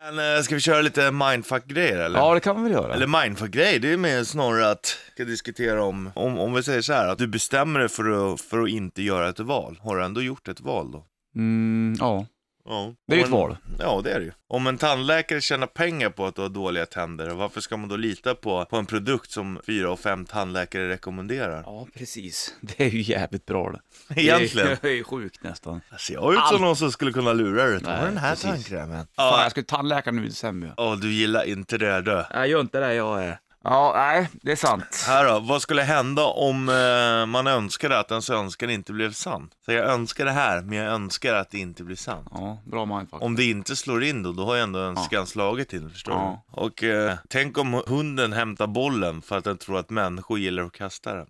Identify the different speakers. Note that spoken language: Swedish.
Speaker 1: Men, eh, ska vi köra lite mindfuck-grejer eller?
Speaker 2: Ja, det kan man väl göra.
Speaker 1: Eller mindfuck-grej, det är mer snarare att vi ska diskutera om, om, om vi säger så här att du bestämmer dig för att, för att inte göra ett val. Har du ändå gjort ett val då?
Speaker 2: Mm, ja,
Speaker 1: Ja.
Speaker 2: det är ju
Speaker 1: Om
Speaker 2: ett
Speaker 1: en-
Speaker 2: val.
Speaker 1: Ja, det är det ju. Om en tandläkare tjänar pengar på att du har dåliga tänder, varför ska man då lita på, på en produkt som fyra och fem tandläkare rekommenderar?
Speaker 2: Ja, precis. Det är ju jävligt bra det.
Speaker 1: Egentligen.
Speaker 2: Det är ju sjukt nästan.
Speaker 1: Ser jag ut som
Speaker 2: Allt.
Speaker 1: någon som skulle kunna lura dig? Ta
Speaker 2: Nej,
Speaker 1: den här
Speaker 2: precis.
Speaker 1: tandkrämen.
Speaker 2: Fan,
Speaker 1: Ja,
Speaker 2: jag skulle tandläkaren nu i december.
Speaker 1: Åh, du gillar inte det du.
Speaker 2: Jag gör inte det jag är. Ja, nej, det är sant.
Speaker 1: Här då, vad skulle hända om eh, man önskade att ens önskan inte blev sann? Så jag önskar det här, men jag önskar att det inte blir sant.
Speaker 2: Ja, bra mindfuck.
Speaker 1: Om det inte slår in då, då har ju ändå önskan slagit in, förstår
Speaker 2: Ja.
Speaker 1: du? Och eh, tänk om hunden hämtar bollen för att den tror att människor gillar att kasta den.